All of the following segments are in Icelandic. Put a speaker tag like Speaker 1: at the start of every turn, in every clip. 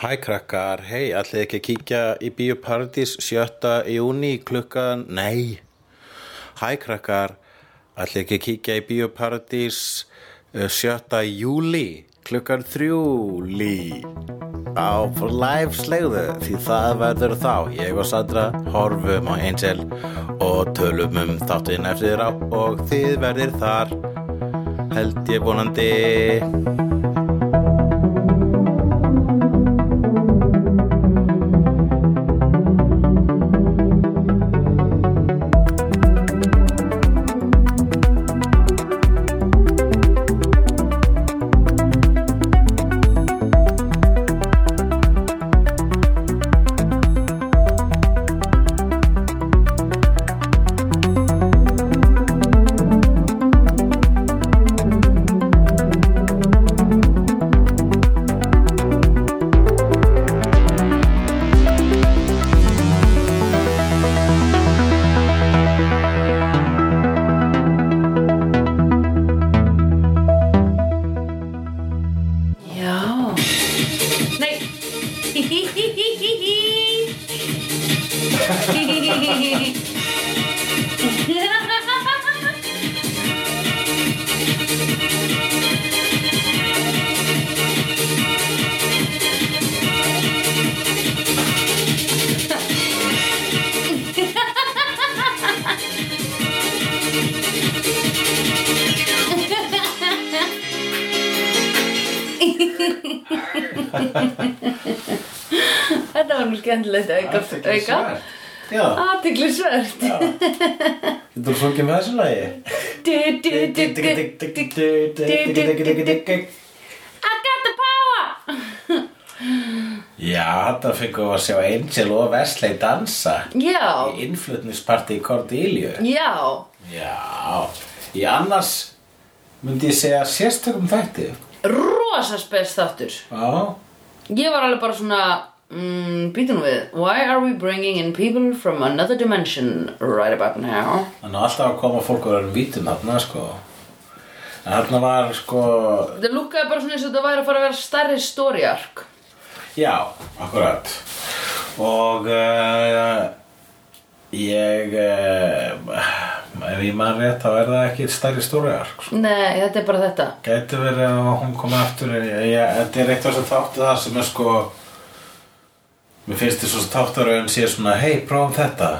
Speaker 1: Hæ krakkar, hei, allir ekki að kíkja í Bíóparadís 7. júni klukkan, nei. Hæ krakkar, allir ekki að kíkja í Bíóparadís 7. júli klukkan þrjúli á live slegðu því það verður þá. Ég og Sandra horfum á Angel og tölum um þáttinn eftir á og þið verðir þar held ég vonandi.
Speaker 2: Já. Nei. Þetta var nú skemmtilegt auka. auka.
Speaker 1: Já,
Speaker 2: Athyglisvert.
Speaker 1: getur þú sungið með þessu lagi?
Speaker 2: Du, du, du, du, du, du.
Speaker 1: Já,
Speaker 2: I got the power!
Speaker 1: þetta fengum við að sjá Angel og Wesley dansa
Speaker 2: Já,
Speaker 1: í innflutningsparti í Cordelia
Speaker 2: já.
Speaker 1: Já, í annars myndi ég segja sérstökum þætti
Speaker 2: Rosa spes þáttur.
Speaker 1: Já,
Speaker 2: Ég var alveg bara svona, mm, býtu nú við. Why are we bringing in people from another dimension right about now?
Speaker 1: þannig að alltaf að koma fólk að vera vítum þarna sko En þarna var sko,
Speaker 2: Það lúkkaði bara svona eins og þetta væri að fara að vera stærri story arc.
Speaker 1: já, akkurat Og uh, ég, uh, ef ég maður rétt þá er það ekki stærri stóriðar sko
Speaker 2: Nei, þetta er bara þetta.
Speaker 1: Gæti verið að hún komi aftur en ég, ég, þetta er eitt af þess að þáttu það sem er sko mér finnst þess að þáttarauðin sé svona hei, prófum þetta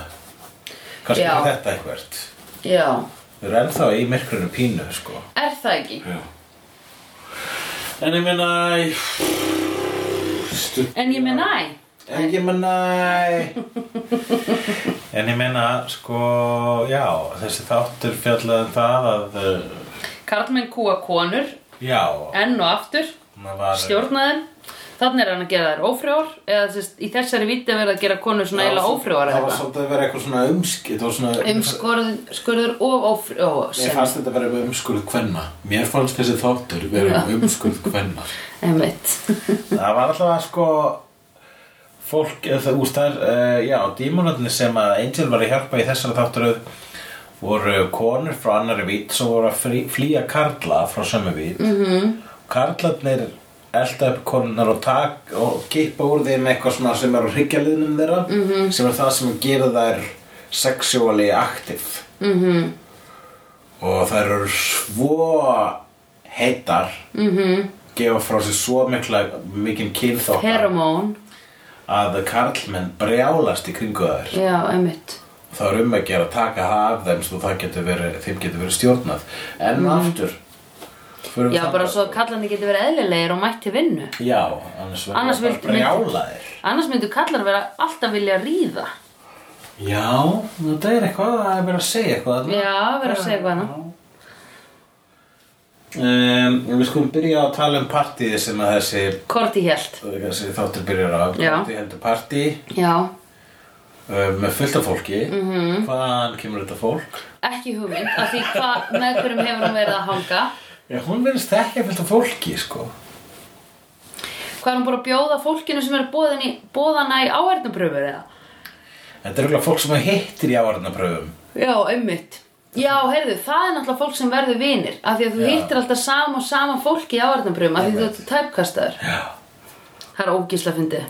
Speaker 1: kannski
Speaker 2: Já.
Speaker 1: er þetta eitthvert
Speaker 2: Já,
Speaker 1: við erum ennþá í myrkrinu pínu sko
Speaker 2: er það ekki?
Speaker 1: Já. en ég meina stu-
Speaker 2: En ég meina, næ.
Speaker 1: en ég meina en ég meina sko, já þessi þáttur fjallaði um það að uh,
Speaker 2: Karlmenn kúa konur,
Speaker 1: já,
Speaker 2: enn og aftur,
Speaker 1: það var
Speaker 2: stjórna þeim. Þannig er hann að gera þær ófrjóar, eða þess, í þessari víti verða að gera konur svona eila ófrjóar
Speaker 1: það
Speaker 2: eða
Speaker 1: var
Speaker 2: eitthvað.
Speaker 1: svolítið að vera eitthvað svona umskið það var svona
Speaker 2: Umskurður og ófrjóar.
Speaker 1: Mér fannst þetta vera um umskurð kvenna Mér fannst þessi þáttur vera um umskurð kvenna
Speaker 2: Emmett.
Speaker 1: Það var alltaf að sko fólk, eða það úst þær uh, já, dímonarnir sem að Angel var að hjálpa í þessara þátturöð voru konur frá annari vít sem voru að frí, flýja karla frá sömu vít mm -hmm. Karlarnir elda upp konunar og tak og kippa úr þeim eitthvað svona sem er á hryggjaliðnum þeirra -hmm. sem er það sem gera þær sexually active og þær eru svo heitar mm -hmm. gefa frá sér svo mikla mikinn kynþótt
Speaker 2: Pheromone.
Speaker 1: að karlmenn brjálast í kringu þær
Speaker 2: Já, emitt.
Speaker 1: þá er um að gera að taka það af þeim svo það getur verið, þeim getur verið stjórnað en aftur förum
Speaker 2: Mhm. Já,
Speaker 1: þangað.
Speaker 2: bara svo að kallandi getur verið eðlilegir og mætt til vinnu.
Speaker 1: já, annars verður
Speaker 2: Annars
Speaker 1: það bara
Speaker 2: vildu-
Speaker 1: brjála þér
Speaker 2: Annars myndu kallar vera alltaf vilja ríða.
Speaker 1: já, þetta er eitthvað það er verið að segja eitthvað þarna.
Speaker 2: Já, vera að segja eitthvað hana.
Speaker 1: um, við skulum byrja að tala um partíði sem að þessi,
Speaker 2: Korti hélt.
Speaker 1: þessi þáttur byrjar á
Speaker 2: Já.
Speaker 1: Korti heldur partíð
Speaker 2: Já.
Speaker 1: Uh, með fullt af fólki
Speaker 2: Mhm.
Speaker 1: -hmm. hvaðan kemur þetta fólk
Speaker 2: Ekki hugmynd, af því hvað, með hverjum hefur hún verið að hanga.
Speaker 1: já, hún verðist ekki fullt af fólki sko.
Speaker 2: Hvað er hún bara að bjóða fólkinu sem er boðin í, boðana í áhærtnapröfur eða?
Speaker 1: þetta er örugglega fólk sem hún hittir í ávarnapröfum
Speaker 2: Já, einmitt. Já, heyrðu, það er náttúrulega fólk sem verður vinir, af því að þú
Speaker 1: Já.
Speaker 2: hittir alltaf sama og sama fólki í áhærtnapröfum, af því þú
Speaker 1: Einmitt.
Speaker 2: ert tæpkastaður.
Speaker 1: já,
Speaker 2: það er ógísla fyndi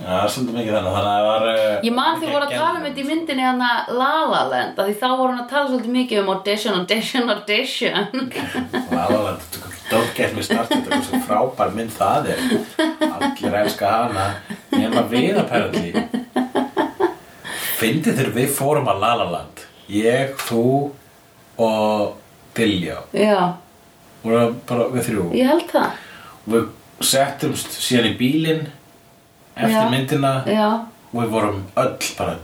Speaker 1: Já, það er svolítið mikið þannig, þannig að það var... eh,
Speaker 2: ég man því voru að tala um þetta í myndinni hana La La Land af því þá voru hann að tala svolítið mikið um audition, audition, audition
Speaker 1: La La Land, don't get me started, þetta er svo frábær mynd það er. Allir elska hana, nema við apparently. Fyndið þegar við fórum að La La Land, ég, þú og Dilljá,
Speaker 2: já,
Speaker 1: vorum bara við þrjú.
Speaker 2: ég held það
Speaker 1: Við settumst síðan í bílinn eftir
Speaker 2: Já.
Speaker 1: myndina
Speaker 2: já,
Speaker 1: og við vorum öll bara,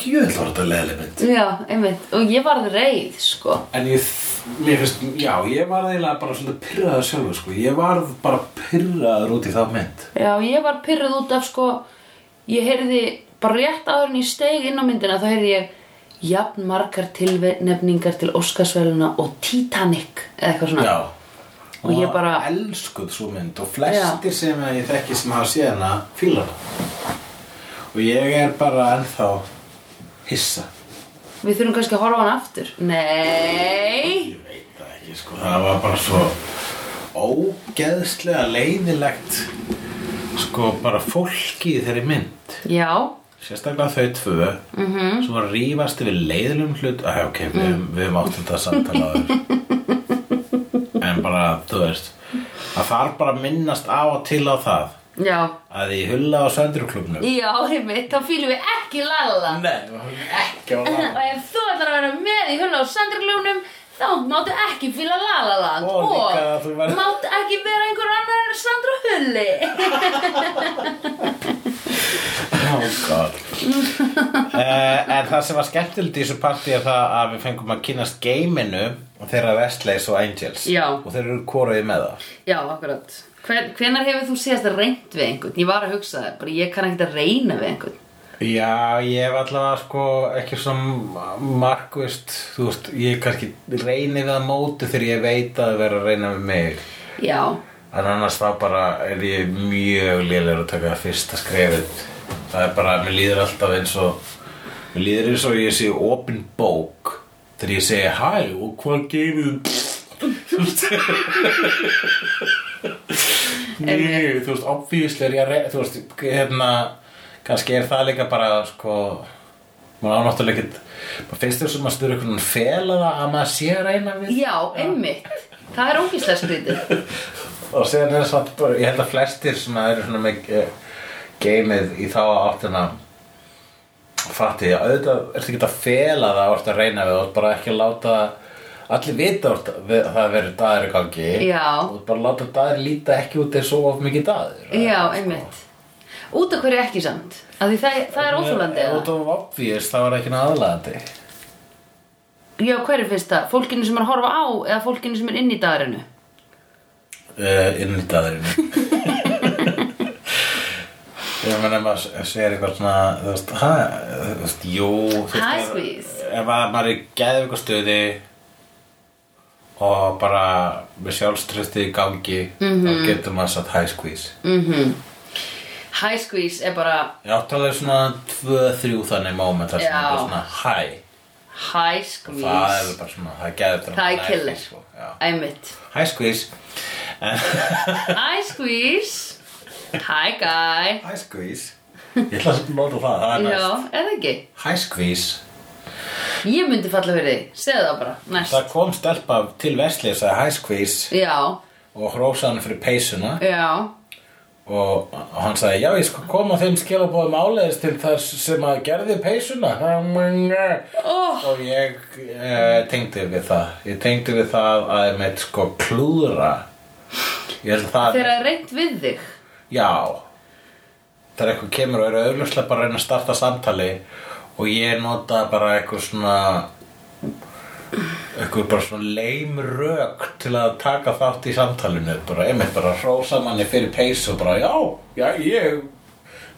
Speaker 1: djöðl var þetta leðileg mynd.
Speaker 2: já, einmitt og ég varð reið, sko
Speaker 1: En ég, mér finnst, já, ég var eiginlega bara svolítið pyrraður sjálfur, sko. Ég var bara pyrraður út í það mynd.
Speaker 2: Já, ég var pyrruð út af sko ég heyrði bara rétt áður en ég steig inn á myndina þá heyrði ég jafn margar tilnefningar til Óskarsveluna og Titanic eða eitthvað svona
Speaker 1: Já.
Speaker 2: Og ég bara-
Speaker 1: Elskuð svo mynd og flestir sem ég þekki sem hafa séð hana fílar hana. Og ég er bara ennþá hissa.
Speaker 2: Við þurfum kannski að horfa á hann aftur Nei
Speaker 1: Ég veit það ekki, sko. Það var bara svo ógeðslega leiðilegt, sko, bara fólki í þeirri mynd.
Speaker 2: Já,
Speaker 1: Sérstaklega þau tvö mm
Speaker 2: Mhm.
Speaker 1: -hmm. Svo að rífast yfir leiðilum hlut Æ, ok, við, við máttum þetta samtala þér En bara, þú veist Það þarf bara að minnast á og til á það
Speaker 2: já
Speaker 1: Að í hulla á söndruklubnum
Speaker 2: Já, einmitt, þá fýlum við ekki lalla
Speaker 1: Nei, það var ekki á
Speaker 2: Og ef þú ætlar að vera með í hulla á sandurgljónum þá máttu ekki fýla lalaland
Speaker 1: Og líka að þú verður-
Speaker 2: máttu ekki vera einhver annar en Sandra Hulli
Speaker 1: Oh god uh, En það sem var skemmtilegt í þessu partí er það að við fengum að kynast geiminu þeirra Vestleys og Angels
Speaker 2: Já.
Speaker 1: og þeir eru koruði með það
Speaker 2: Já, akkurat Hven, Hvenær hefur þú síðast reynt við einhvern? Ég var að hugsa það, bara ég kann ekkert að reyna við einhvern
Speaker 1: Já, ég hef allavega sko ekki svona markvist, þú veist, ég kannski reyni við að móti þegar ég veit að það vera að reyna við mig.
Speaker 2: Já,
Speaker 1: En annars þá bara er ég mjög lélegur að taka fyrsta skrefið. Það er bara, mér líður alltaf eins og, mér líður eins og ég sé opin bók þegar ég segi hæ og hvað gefið þú veist. Nei, þú veist, obvíslega er ég að reyna, þú veist, hérna, kannski er það líka bara, sko, maður ánáttúrulega ekkert, bara finnst þér sem að stöður einhvern veginn fela það að maður sé að reyna við.
Speaker 2: já, einmitt Það er ógíslega skrítið
Speaker 1: og síðan er samt bara, ég held að flestir sem eru svona með eh, geimið í þá áttina fatti, já, auðvitað ertu ekki að fela það og ertu að reyna við og bara ekki að láta allir vita að það verður dagur í gangi
Speaker 2: Já.
Speaker 1: og bara láta dagur líta ekki út eins og of mikið dagur
Speaker 2: Já, einmitt Út af hverju ekki samt? Af því það, það er óþólandi
Speaker 1: og það var obvious, það var ekki aðlaðandi
Speaker 2: Já, hverju finnst það? Fólkinu sem er að horfa á eða fólkinu sem er inn í dagarinu?
Speaker 1: uh, inn í daðurinn ég meina ef maður segir eitthvað svona þú veist, hæ, þú veist, jú þú veist,
Speaker 2: Hæ,
Speaker 1: ef-
Speaker 2: squeeze.
Speaker 1: ef að maður er geðið eitthvað stöði og bara með sjálfströsti í gangi
Speaker 2: Mhm.
Speaker 1: þá getur maður satt hæ squeeze
Speaker 2: High squeeze er bara
Speaker 1: ég átti alveg svona tvö, þrjú þannig moment þar sem
Speaker 2: Já.
Speaker 1: maður er svona hæ
Speaker 2: high
Speaker 1: það er sko.
Speaker 2: squeeze
Speaker 1: bara svona, það er geðið
Speaker 2: Það er killer. Einmitt
Speaker 1: hæ squeeze
Speaker 2: High squeeze Hi guy
Speaker 1: hæ squeeze ég ætla að nota það, það er
Speaker 2: Já,
Speaker 1: næst
Speaker 2: eða ekki
Speaker 1: hæ squeeze
Speaker 2: Ég myndi falla fyrir því, segðu það bara, næst
Speaker 1: Það kom stelpa til Vesli og sagði hæ skvís
Speaker 2: Já,
Speaker 1: og hrósa hann fyrir peysuna
Speaker 2: já,
Speaker 1: og og hann sagði já ég sko kom á þeim skilabóðum áleiðis til þess sem að gerði peysuna
Speaker 2: Oh.
Speaker 1: og ég e, tengdi við það ég tengdi við það að ég meitt sko klúðra ég held að það
Speaker 2: þegar það er reynt við þig
Speaker 1: Já Þegar eitthvað kemur og eru auðvitað bara að reyna að starta samtali og ég nota bara eitthvað svona eitthvað bara svona leim rök til að taka þátt í samtalinu bara einmitt bara hrósa manni fyrir peys og bara já, já ég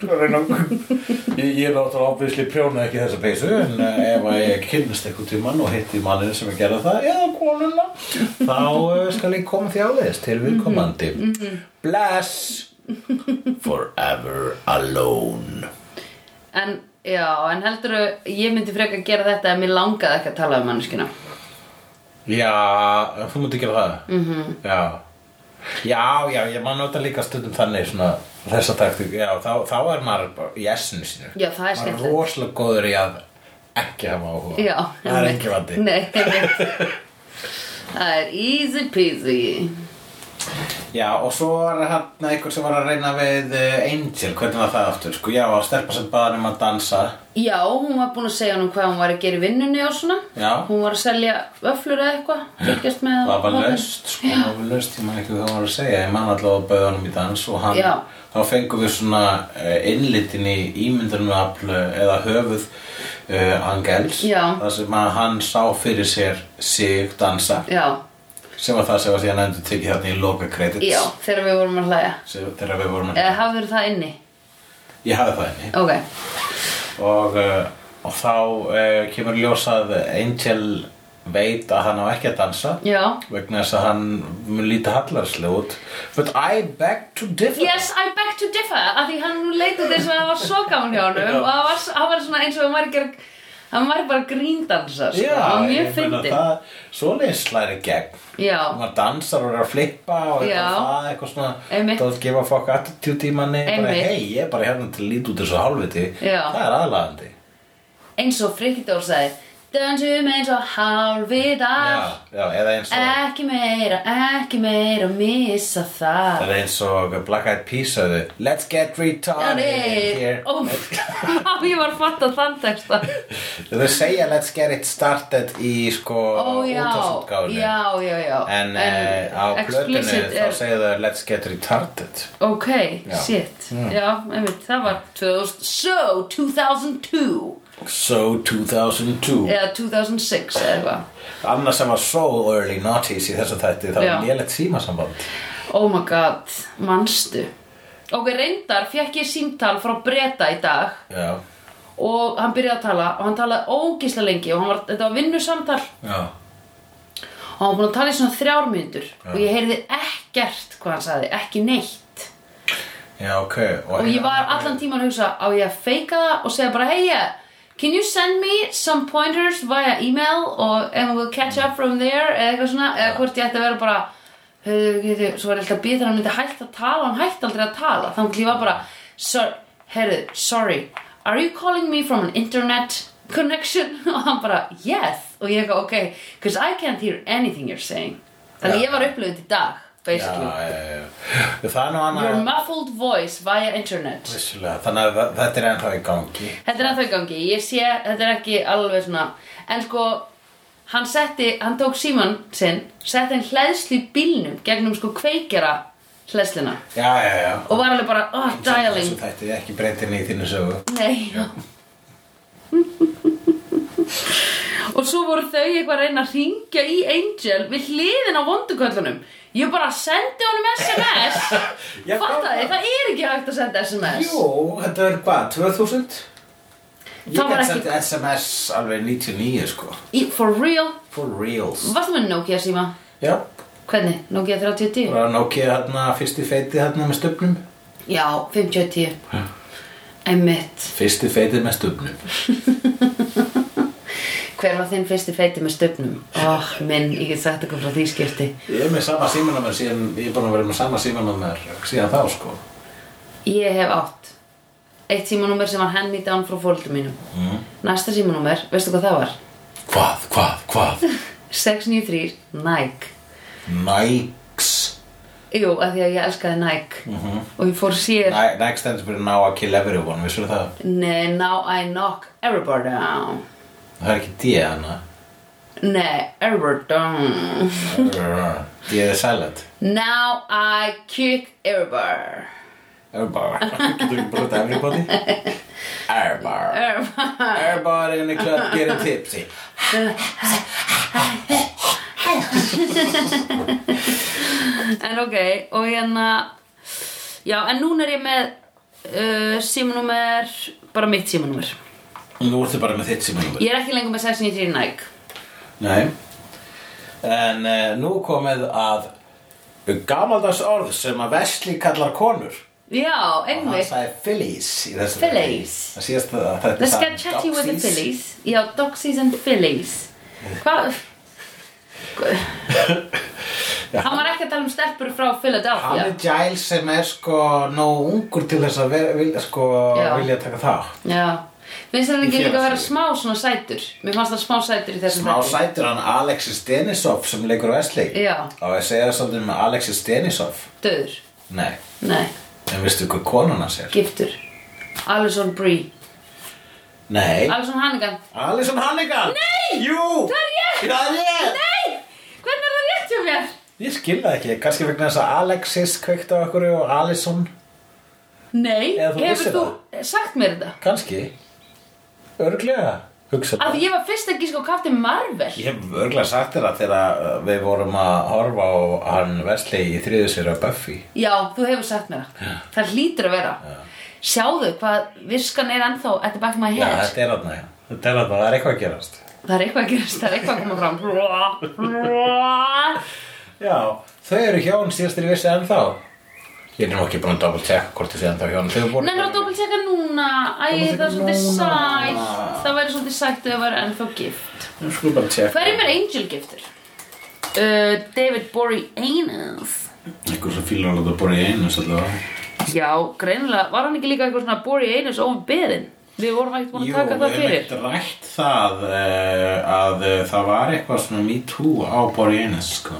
Speaker 1: þú er að reyna að- ég, ég er náttúrulega ábyrðsli prjóna ekki þessa peysu en eh, ef að ég kynnast eitthvað tíman og hitti manninu sem er gerða það eða konuna þá eh, skal ég koma því áleiðis til viðkomandi bless Forever alone
Speaker 2: En, já, en heldur ég myndi frekar gera þetta ef mér langaði ekki að tala um manneskina
Speaker 1: Já,
Speaker 2: Mhm.
Speaker 1: þú mútti gera það mm -hmm. Já Já, já, ég man nota líka stundum þannig svona þessa taktík, já, þá, þá er maður bara í essinu sínu
Speaker 2: Já, það er
Speaker 1: Maður
Speaker 2: skemmtilegt.
Speaker 1: rosalega góður í að ekki hafa áhuga
Speaker 2: Já,
Speaker 1: Það er
Speaker 2: einmitt.
Speaker 1: ekki vandi
Speaker 2: Nei, einmitt. Það er easy peasy
Speaker 1: Já, og svo var hann einhver sem var að reyna við eh, Angel, hvernig var það aftur? Sko, já, að stelpa sem baðan um að dansa
Speaker 2: Já, hún var búin að segja hann hvað hún var að gera í vinnunni og svona
Speaker 1: Já.
Speaker 2: Hún var að selja vöflur eða eitthvað Fylgjast með
Speaker 1: Það var
Speaker 2: hornin.
Speaker 1: löst, sko, það var löst, ég man ekki hvað það var að segja Ég man allavega að bauða honum í dans og hann
Speaker 2: Já.
Speaker 1: Þá fengum við svona eh, innlitin í ímyndunumafl eða höfuð uh, Angels
Speaker 2: Já.
Speaker 1: Það sem að hann sá fyrir sér sig dansa
Speaker 2: Já,
Speaker 1: sem var það sem var síðan endur tekið þarna í loka credits
Speaker 2: já, þegar við vorum að hlæja
Speaker 1: sem, þegar við vorum
Speaker 2: Eða hafður það inni?
Speaker 1: ég hafði það henni
Speaker 2: Ok,
Speaker 1: og, eh, og þá uh, kemur ljósað Angel veit að hann á ekki að dansa
Speaker 2: já
Speaker 1: vegna þess að hann mun líta hallarslega út but I beg to differ
Speaker 2: Yes, I beg to differ að því hann leitið þess að það var svo gaman hjá honum
Speaker 1: Já.
Speaker 2: og það var, það var svona eins og hann var ekki að- hann var bara gríndansar sko.
Speaker 1: Já,
Speaker 2: hann var mjög
Speaker 1: ég meina
Speaker 2: fyndin
Speaker 1: það, svoleiðis slæri gegn
Speaker 2: Já,
Speaker 1: maður dansar og er að flippa og
Speaker 2: Já.
Speaker 1: eitthvað það, eitthvað svona
Speaker 2: Einmitt.
Speaker 1: don't give a fuck attitude í manni bara
Speaker 2: Einmitt.
Speaker 1: hei, ég er bara hérna til að líta út þessu hálfviti
Speaker 2: Já.
Speaker 1: það er aðlagandi
Speaker 2: eins og Frikidór sagði Dönsum um eins og hálfvitar
Speaker 1: já, já, eða eins og
Speaker 2: Ekki meira, ekki meira missa það
Speaker 1: Það er eins og Black Eyed Peas sagði Let's get retarded here
Speaker 2: Ó, ég var að fatta þann texta
Speaker 1: Þau segja let's get it started í sko
Speaker 2: Ó já,
Speaker 1: útvarpsútgáfunni.
Speaker 2: já, já, já
Speaker 1: En, en á plötunni
Speaker 2: explicit
Speaker 1: þá segja þau let's get retarded
Speaker 2: Ok,
Speaker 1: Já.
Speaker 2: shit Já, einmitt, það var 2000, So, 2002
Speaker 1: So 2002
Speaker 2: Eða 2006 eða eitthvað
Speaker 1: Annars sem var so early noughties í þessu þætti Það
Speaker 2: Já.
Speaker 1: var lélegt símasamband
Speaker 2: Oh my god, manstu Ok, reyndar fekk ég símtal frá Breta í dag
Speaker 1: Já,
Speaker 2: og hann byrjaði að tala og hann talaði ógisla lengi og hann var, þetta var vinnusamtal
Speaker 1: já,
Speaker 2: og hann var búin að tala í svona þrjár mínútur og ég heyrði ekkert hvað hann sagði, ekki neitt
Speaker 1: já ok hérna-
Speaker 2: og ég var allan tíman að hugsa á ég að feika það og segja bara hey yeah, can you send me some pointers via email og and we'll catch up from there eða eitthvað svona, eða hvort ég ætti að vera bara heyrðu, heyrðu, svo var ég alltaf að býða þegar hann myndi hægt að tala hann hægt aldrei að tala, þannig að ég var bara sorry, heyrðu, sorry are you calling me from an internet connection og hann bara yes og ég eitthvað ok, because I can't hear anything you're saying þannig að
Speaker 1: Já.
Speaker 2: ég var upplöðið í dag
Speaker 1: Já,
Speaker 2: basically,
Speaker 1: já, já, já Það er nú
Speaker 2: your
Speaker 1: annað
Speaker 2: muffled voice via internet
Speaker 1: Vissulega, Þannig að þa- þetta er ennþá í gangi
Speaker 2: Þetta er ennþá í gangi, ég sé, þetta er ekki alveg svona En sko, hann setti, hann tók síman sinn Setti hann hleðslu í bílnum Gegnum sko kveikjara hleðsluna
Speaker 1: Já, já, já
Speaker 2: Og var alveg bara, oh, dialing
Speaker 1: Þessu þætti ekki breytin í þínu sögu
Speaker 2: Nei, já Og svo voru þau eitthvað að reyna að ringja í Angel Við hliðin á vonduköllunum Ég bara sendi honum SMS
Speaker 1: Já,
Speaker 2: Fattaði, það er ekki hægt að senda SMS
Speaker 1: Jú, þetta er hvað, 2000? Ég
Speaker 2: Það
Speaker 1: get
Speaker 2: var ekki-
Speaker 1: sendið SMS alveg 99 sko
Speaker 2: Í- For real,
Speaker 1: For reals
Speaker 2: varstu með Nokia síma?
Speaker 1: Já,
Speaker 2: Hvernig? Nokia 3010?
Speaker 1: bara Nokia hérna, fyrsti feiti hérna með stöfnum
Speaker 2: Já, 50-10 Emmitt
Speaker 1: Fyrsti feiti með stöfnum
Speaker 2: Hver var þinn fyrsti feiti með stöfnum? Oh, minn, ég get sagt eitthvað frá því skipti
Speaker 1: Ég er með sama símanumar síðan, ég er búin að vera með sama símanumar síðan þá sko
Speaker 2: Ég hef átt Eitt símanúmer sem var hand me down frá fólkdum mínum mm. Næsta símanúmer, veistu hvað það var?
Speaker 1: Hvað, hvað, hvað?
Speaker 2: 693 Nike
Speaker 1: Nikes
Speaker 2: Jú, af því að ég elskaði Nike -hmm. Og ég fór sér
Speaker 1: Ni- Nike stendur fyrir now I kill everyone, vissur það?
Speaker 2: Nei, now I knock everybody down
Speaker 1: Það er ekki D hana
Speaker 2: Nei, everybody down
Speaker 1: D er silent
Speaker 2: Now I kick everybody
Speaker 1: Airbar Getur ekki bara þetta everybody? Airbar
Speaker 2: Everybody
Speaker 1: Everybody in the club getting tipsy
Speaker 2: En ok, og hérna Já, en núna er ég með uh, símanúmer bara mitt símanúmer
Speaker 1: Nú ertu bara með þitt símanúmer
Speaker 2: Ég er ekki lengur með 693 Nike
Speaker 1: Nei En uh, nú komið að gamaldags orð sem að Vesli kallar konur
Speaker 2: Já,
Speaker 1: og hann
Speaker 2: einmitt
Speaker 1: sagði fillies í þessu
Speaker 2: Fillies.
Speaker 1: Það síðast að þetta
Speaker 2: Let's get chatty with the Phillies Já, Doxies and Phillies Hvað? Hann var ekki að tala um stelpur frá
Speaker 1: Hann
Speaker 2: Philadelphia
Speaker 1: er Giles sem er sko nóg ungur til þess að vera, vilja, sko,
Speaker 2: Já.
Speaker 1: vilja taka þátt.
Speaker 2: Já Finnst þér hann
Speaker 1: Í
Speaker 2: ekki líka að vera
Speaker 1: félagslífi.
Speaker 2: smá svona sætur Mér fannst það smá sætur í þessum
Speaker 1: Smá
Speaker 2: þætti.
Speaker 1: sætur hann Alexis Denisov sem leikur Wesley.
Speaker 2: Já.
Speaker 1: Og ég segja svolítið með Alexis Denisov.
Speaker 2: Dauður
Speaker 1: Nei,
Speaker 2: Nei,
Speaker 1: en veistu hvað konan hans er?
Speaker 2: giftur Alison Brie
Speaker 1: Nei.
Speaker 2: Alison Hannigan
Speaker 1: Alison Hannigan! Nei! Jú!
Speaker 2: Það er ég!
Speaker 1: Það er ég!
Speaker 2: Nei, hvernig er það rétt hjá mér?
Speaker 1: Ég skil það ekki, kannski vegna þess að Alexis kveikt á okkur og Alison,
Speaker 2: Nei,
Speaker 1: Eða þú
Speaker 2: hefur
Speaker 1: vissir
Speaker 2: þú sagt mér þetta?
Speaker 1: kannski, örglega, hugsa
Speaker 2: Af því ég var fyrst að gíska á Captain Marvel
Speaker 1: Ég hef örglega sagt þér að þegar uh, við vorum að horfa á hann Wesley í þriðu sér að Buffy.
Speaker 2: Já, þú hefur sagt mér það Það hlýtur að vera Sjáðu hvað viskan er ennþá at the back of my
Speaker 1: Já,
Speaker 2: head
Speaker 1: þetta er aðna, já. Þetta er aðna, það er eitthvað að gerast.
Speaker 2: Það er eitthvað að gerast, það er eitthvað að koma fram Rá, rá.
Speaker 1: Já, þau eru hjón síðast þegar ég vissi ennþá. Ég er nú ekki búin að double check hvort þið sé ennþá hjón. Þau eru búin
Speaker 2: Nei, það er að doppeltjekka núna Æ,
Speaker 1: Doppeltjekka
Speaker 2: það er svolítið
Speaker 1: núna.
Speaker 2: sætt Það væri svolítið sætt ef það væri ennþá gift
Speaker 1: Nú skulum bara check.
Speaker 2: Hverjum er Angel giftur? Uh, David Boreanaz
Speaker 1: Eitthvað sem fílar alveg að búin í einu, svolítið.
Speaker 2: Já, greinilega, var hann ekki líka eitthvað svona Boreanaz óum beðin? Við vorum ekkert búin
Speaker 1: Jú,
Speaker 2: að taka það
Speaker 1: við
Speaker 2: fyrir
Speaker 1: hefum ekkert rætt það uh, að uh, það var eitthvað svona me too á Borjanes sko.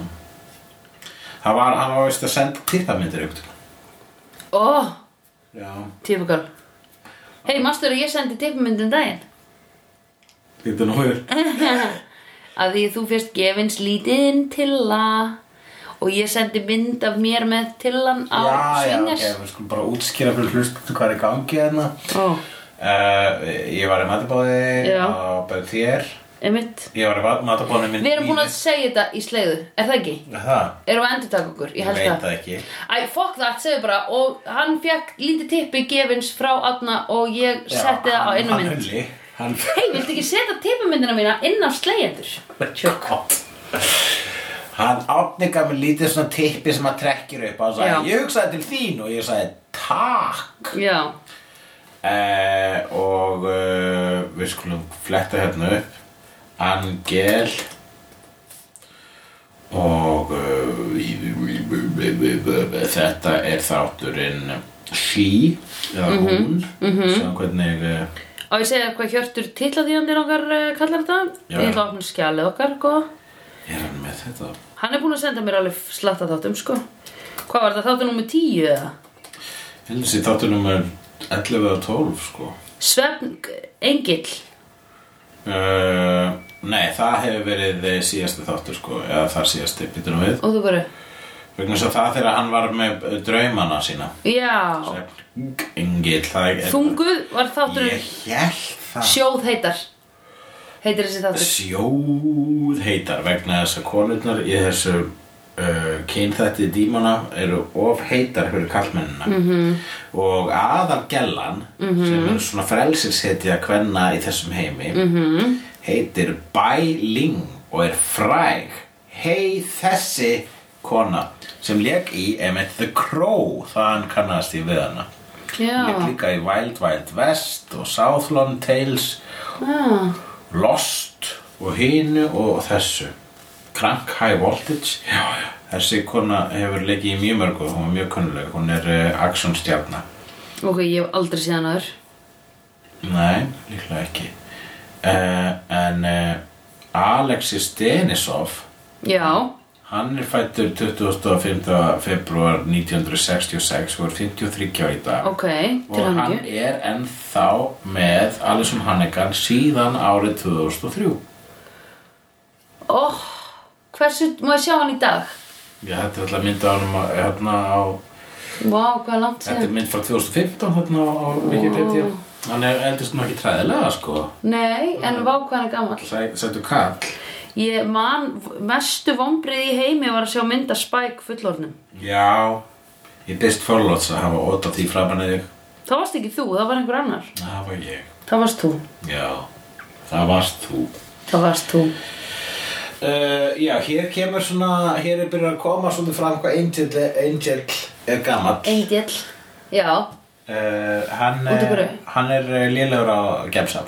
Speaker 1: Það var, hann var veist að senda tippamindir eitthvað.
Speaker 2: Ó, oh,
Speaker 1: Já,
Speaker 2: tífukal Hei, manstu að ég sendi tippmyndin daginn?
Speaker 1: þetta nú er.
Speaker 2: að því þú fyrst gefins lítinn tilla og ég sendi mynd af mér með tillan á
Speaker 1: Já, já, ok,
Speaker 2: svingers
Speaker 1: við skulum bara útskýra fyrir hlustu hvað er í gangi hérna.
Speaker 2: Ó,
Speaker 1: Uh, ég var í matabóði
Speaker 2: Já.
Speaker 1: á bæði þér.
Speaker 2: einmitt
Speaker 1: Ég var í matabóðinu minn.
Speaker 2: Við erum búin að segja þetta í sleiðu, er það ekki?
Speaker 1: Það,
Speaker 2: Erum við að endurtaka okkur? Ég
Speaker 1: ég
Speaker 2: held
Speaker 1: veit
Speaker 2: það
Speaker 1: það ekki.
Speaker 2: Æ, fokk það, segðu bara og hann fekk lítið tippi gefins frá Adna og ég
Speaker 1: Já,
Speaker 2: setti það á
Speaker 1: hann-
Speaker 2: einu
Speaker 1: hann
Speaker 2: mynd
Speaker 1: Hulli, Hann
Speaker 2: Hei, viltu ekki setja tippumyndina mína inn á slegjendur?
Speaker 1: Tjókott Hann átni gaf mér lítið svona tippi sem að trekkir upp og
Speaker 2: Já.
Speaker 1: sagði, ég hugsaði til þín og ég sagði, takk
Speaker 2: Já,
Speaker 1: eh, og eh, við skulum fletta hérna upp Angel og eh, þetta er þátturinn She eða hún mm -hmm. sem hvernig eh,
Speaker 2: á ég segja hvað Hjörtur tillaþýjandir okkar eh, kallar þetta?
Speaker 1: Já,
Speaker 2: Ég
Speaker 1: já.
Speaker 2: ætla að opna skjalið okkar, góða
Speaker 1: er hann með þetta
Speaker 2: Hann er búinn að senda mér alveg slatta þáttum, sko. Hvað var það, þáttum nummer 10 eða?
Speaker 1: heldur sér þáttunum er 11 eða 12 sko
Speaker 2: Svefn, engill.
Speaker 1: Uh, nei, það hefur verið eh, síðasti þáttur sko, eða þar síðasti býtunum við
Speaker 2: Og þú bara,
Speaker 1: vegna þess að það þegar hann var með eh, draumana sína
Speaker 2: já,
Speaker 1: Engil, það er
Speaker 2: þunguð var þátturinn
Speaker 1: Ég held það
Speaker 2: sjóð heitar. Heitir þessi þáttur.
Speaker 1: Sjóð heitar vegna þess að konurnar í þessu uh, kynþætti dímana eru of heitar fyrir kallmennina -hmm. og aðalgellan -hmm. sem er svona frelsishetja kvenna í þessum heimi -hmm. heitir Bai Ling og er fræg hei þessi kona sem lék í Emmett the Crow þaðan kannast ég við hana lék
Speaker 2: Já,
Speaker 1: líka í Wild Wild West og Southland Tales
Speaker 2: já,
Speaker 1: Lost og hinu og þessu Crank High Voltage já, já. þessi kona hefur leikið í mjög mörgu hún er mjög kunnuleg, hún er uh, actionstjarna
Speaker 2: ok, ég hef aldrei séð hann aður.
Speaker 1: nei, líklega ekki uh, en uh, Alexis Denisov
Speaker 2: Já,
Speaker 1: hann er fættur 25. februar 1966 og er 53 á í dag
Speaker 2: ok, til
Speaker 1: og
Speaker 2: hann
Speaker 1: hann
Speaker 2: ekki.
Speaker 1: er ennþá með Alison Hannigan síðan árið 2003
Speaker 2: Óh, Oh, hversu, má ég sjá hann í dag?
Speaker 1: Já, þetta er alltaf mynda á hann hérna á,
Speaker 2: Vá, hvað er langt
Speaker 1: þetta er
Speaker 2: séð.
Speaker 1: mynd frá 2015 hérna á á Wikipedia. Hann er eldist nú ekki træðilega, sko.
Speaker 2: Nei, en vá, hvað hann er gammal.
Speaker 1: Sæ- Sætu kall.
Speaker 2: Ég man, mestu vombrið í heimi var að sjá mynda Spike fullornum.
Speaker 1: Já, ég byrst forlóts að hafa óta því framan að þig.
Speaker 2: Það varst ekki þú, það var einhver annar.
Speaker 1: Það var ég.
Speaker 2: Það varst þú.
Speaker 1: Já, það varst þú.
Speaker 2: Það varst þú.
Speaker 1: Uh, já, hér kemur svona, hér er byrjað að koma svona fram hvað Angel, Angel er gammal.
Speaker 2: Engil. Já.
Speaker 1: Uh, hann,
Speaker 2: Út í
Speaker 1: er-
Speaker 2: hverju?
Speaker 1: hann er lélegur á gemsam.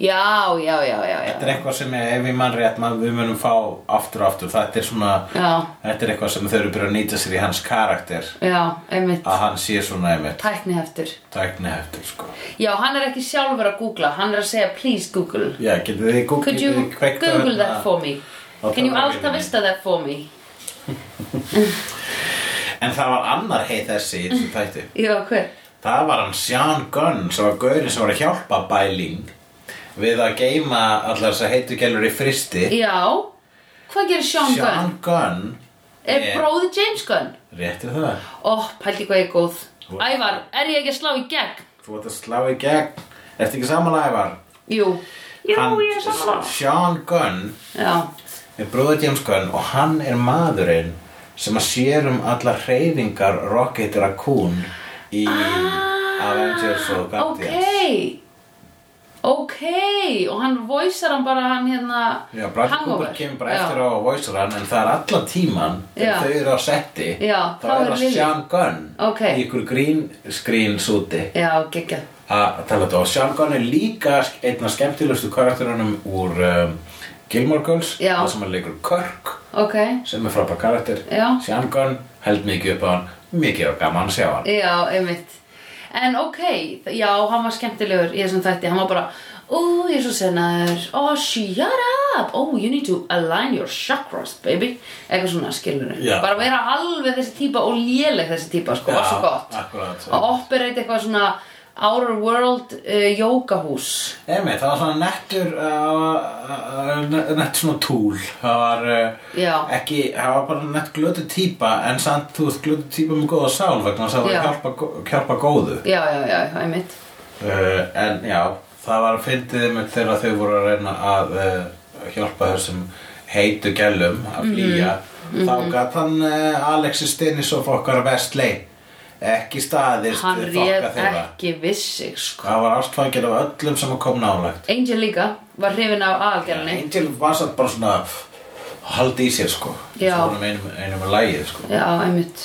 Speaker 2: já, já, já, já,
Speaker 1: Þetta
Speaker 2: já.
Speaker 1: er eitthvað sem ég, ef ég mann rétt, man, við munum fá aftur og aftur. Þetta er svona,
Speaker 2: Já,
Speaker 1: þetta er eitthvað sem þau eru byrjað að nýta sér í hans karakter.
Speaker 2: já, einmitt
Speaker 1: Að hann sé svona einmitt
Speaker 2: Tækniheftur
Speaker 1: tækni heftur, sko.
Speaker 2: Já, hann er ekki sjálfur að googla Hann er að segja please google
Speaker 1: Já, getur þið gú-
Speaker 2: Could
Speaker 1: getið
Speaker 2: you
Speaker 1: þið kveikt á
Speaker 2: google
Speaker 1: hérna-
Speaker 2: that for me?
Speaker 1: Á
Speaker 2: Can you
Speaker 1: tölvuvélinni.
Speaker 2: alta vista that for me?
Speaker 1: En það var annar heið þessi í þessu tætti.
Speaker 2: Já, hver?
Speaker 1: Það var hann Sean Gunn sem var gaurinn sem var að hjálpa Bæling við að geima allar þess að heitu í fristi.
Speaker 2: Já, hvað gerir Sean Gunn?
Speaker 1: Sean Gunn
Speaker 2: Er
Speaker 1: er-
Speaker 2: bróði James Gunn?
Speaker 1: Réttir það.
Speaker 2: Ó, pældi hvað ég er góð
Speaker 1: Þú-
Speaker 2: Ævar, er ég ekki að slá í gegn?
Speaker 1: Þú ert að slá í gegn. Ertu ekki samanlega, Ævar?
Speaker 2: Jú Jú,
Speaker 1: Hann-
Speaker 2: ég er sammála
Speaker 1: Sean Gunn
Speaker 2: Já,
Speaker 1: er bróður James Gunn og hann er maðurinn sem að sér um allar hreyfingar Rocket Raccoon í Avengers og Guardians.
Speaker 2: Ah, ok Ok, og hann voicear hann bara hann hérna
Speaker 1: Já, Bradley Cooper kemur bara eftir á voicear hann en það er allan tíman
Speaker 2: Já.
Speaker 1: þegar þau eru á setti
Speaker 2: Já,
Speaker 1: þá
Speaker 2: þá
Speaker 1: er
Speaker 2: er
Speaker 1: það
Speaker 2: Lily.
Speaker 1: Sean Gunn
Speaker 2: Ok.
Speaker 1: í ykkur green screen súti
Speaker 2: Já, geggja
Speaker 1: að tala þetta og Sean Gunn er líka einn af skemmtilegustu karakterunum úr um, Gilmore Girls
Speaker 2: Já.
Speaker 1: það sem hann leikur Kirk
Speaker 2: Ok,
Speaker 1: sem er frábær karakter
Speaker 2: Já.
Speaker 1: Sean Gunn held mikið upp á hann mikið og gaman að sjá hann
Speaker 2: já, einmitt En ok, þ- já, hann var skemmtilegur í þessum þætti Hann var bara, ó, ég er svo sennar Ó, shut up Ó, you need to align your chakras, baby Eitthvað svona skilur
Speaker 1: Já.
Speaker 2: Bara vera alveg þessi típa og léleg þessi típa, sko, var svo gott
Speaker 1: akkurat
Speaker 2: Að operate eitthvað svona Outer World uh, yogahús
Speaker 1: Emi, það var svona nettur uh, uh, nett svona túl það var
Speaker 2: Já.
Speaker 1: uh, ekki, það var bara nett glötu típa en samt þú veist glötu típa með góða sál vegna þess að það var
Speaker 2: Já.
Speaker 1: að hjálpa, gó- hjálpa góðu
Speaker 2: Já, já, já, einmitt
Speaker 1: uh, en já, það var að fyndið með þegar þau voru að reyna að uh, hjálpa þessum heitu gælum
Speaker 2: Mhm.
Speaker 1: að flýja þá gæt hann uh, Alexi Stinisov okkar vestlei ekki staðist
Speaker 2: Hann
Speaker 1: við
Speaker 2: réð
Speaker 1: þokka þeirra
Speaker 2: ekki viss sig, sko
Speaker 1: það var ástfangin af öllum sem kom nálægt
Speaker 2: Angel líka var hrifin af aðalgerðinni
Speaker 1: Angel var satt bara svona haldi í sér sko
Speaker 2: Já.
Speaker 1: Svo honum einum, einum að lægið sko
Speaker 2: Já, einmitt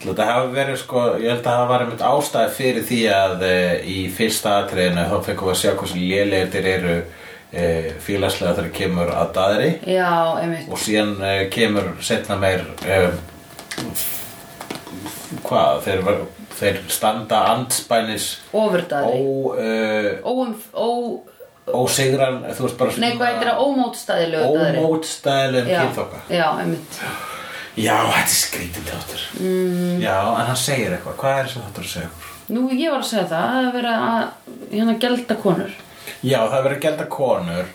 Speaker 1: Þetta hafi verið sko, ég held að það var einmitt ástæði fyrir því að e, í fyrsta atriðinu þá fengum við að sjá hversu lélegir þeir eru e, félagslega þegar kemur að daðri
Speaker 2: Já, einmitt
Speaker 1: og síðan e, kemur setna meir e, hvað, þeir, ver- þeir standa andspænis
Speaker 2: Ofurdaðri
Speaker 1: ó, e,
Speaker 2: Óum, ó
Speaker 1: ósigran, þú veist bara
Speaker 2: Nei, hvað heitir það? Ómótstæðilegu daðri
Speaker 1: ómótstæðilegum
Speaker 2: Já,
Speaker 1: kynþokka
Speaker 2: Já, einmitt
Speaker 1: Já, þetta er skrítið þáttur mm. Já, en hann segir eitthvað, hvað er þessi þáttur að segja okkur?
Speaker 2: Nú, ég var að segja það að vera að hérna gelda konur
Speaker 1: Já, það verður gælda konur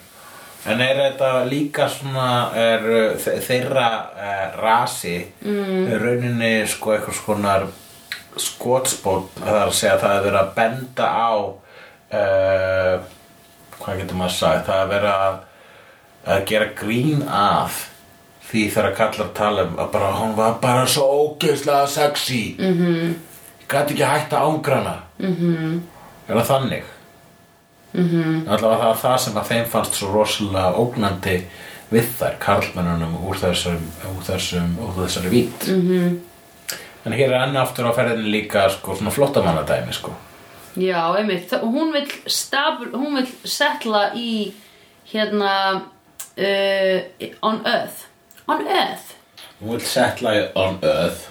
Speaker 1: En er þetta líka svona er, uh, þe- þeirra uh, rasi mm. rauninni sko eitthvað skonar skotspót það er að segja að það er verið að benda á uh, hvað getur maður að sagði það er verið að, að gera grín af því þegar kallar tala um að bara hún var bara svo ógeðslega sexy mm -hmm. gæti ekki hægt að ángrana mm -hmm. er það þannig? Alltaf það var það sem að þeim fannst svo rosalega ógnandi við þær karlmennunum úr þessum, úr þessum, úr þessari vít. Mm -hmm. En hér er enn aftur á ferðinni líka sko, svona flottamannadæmi sko.
Speaker 2: Já, einmitt Þa- Hún vill stabil, hún vill setla í hérna uh, on earth on earth
Speaker 1: Hún vil setla í on earth.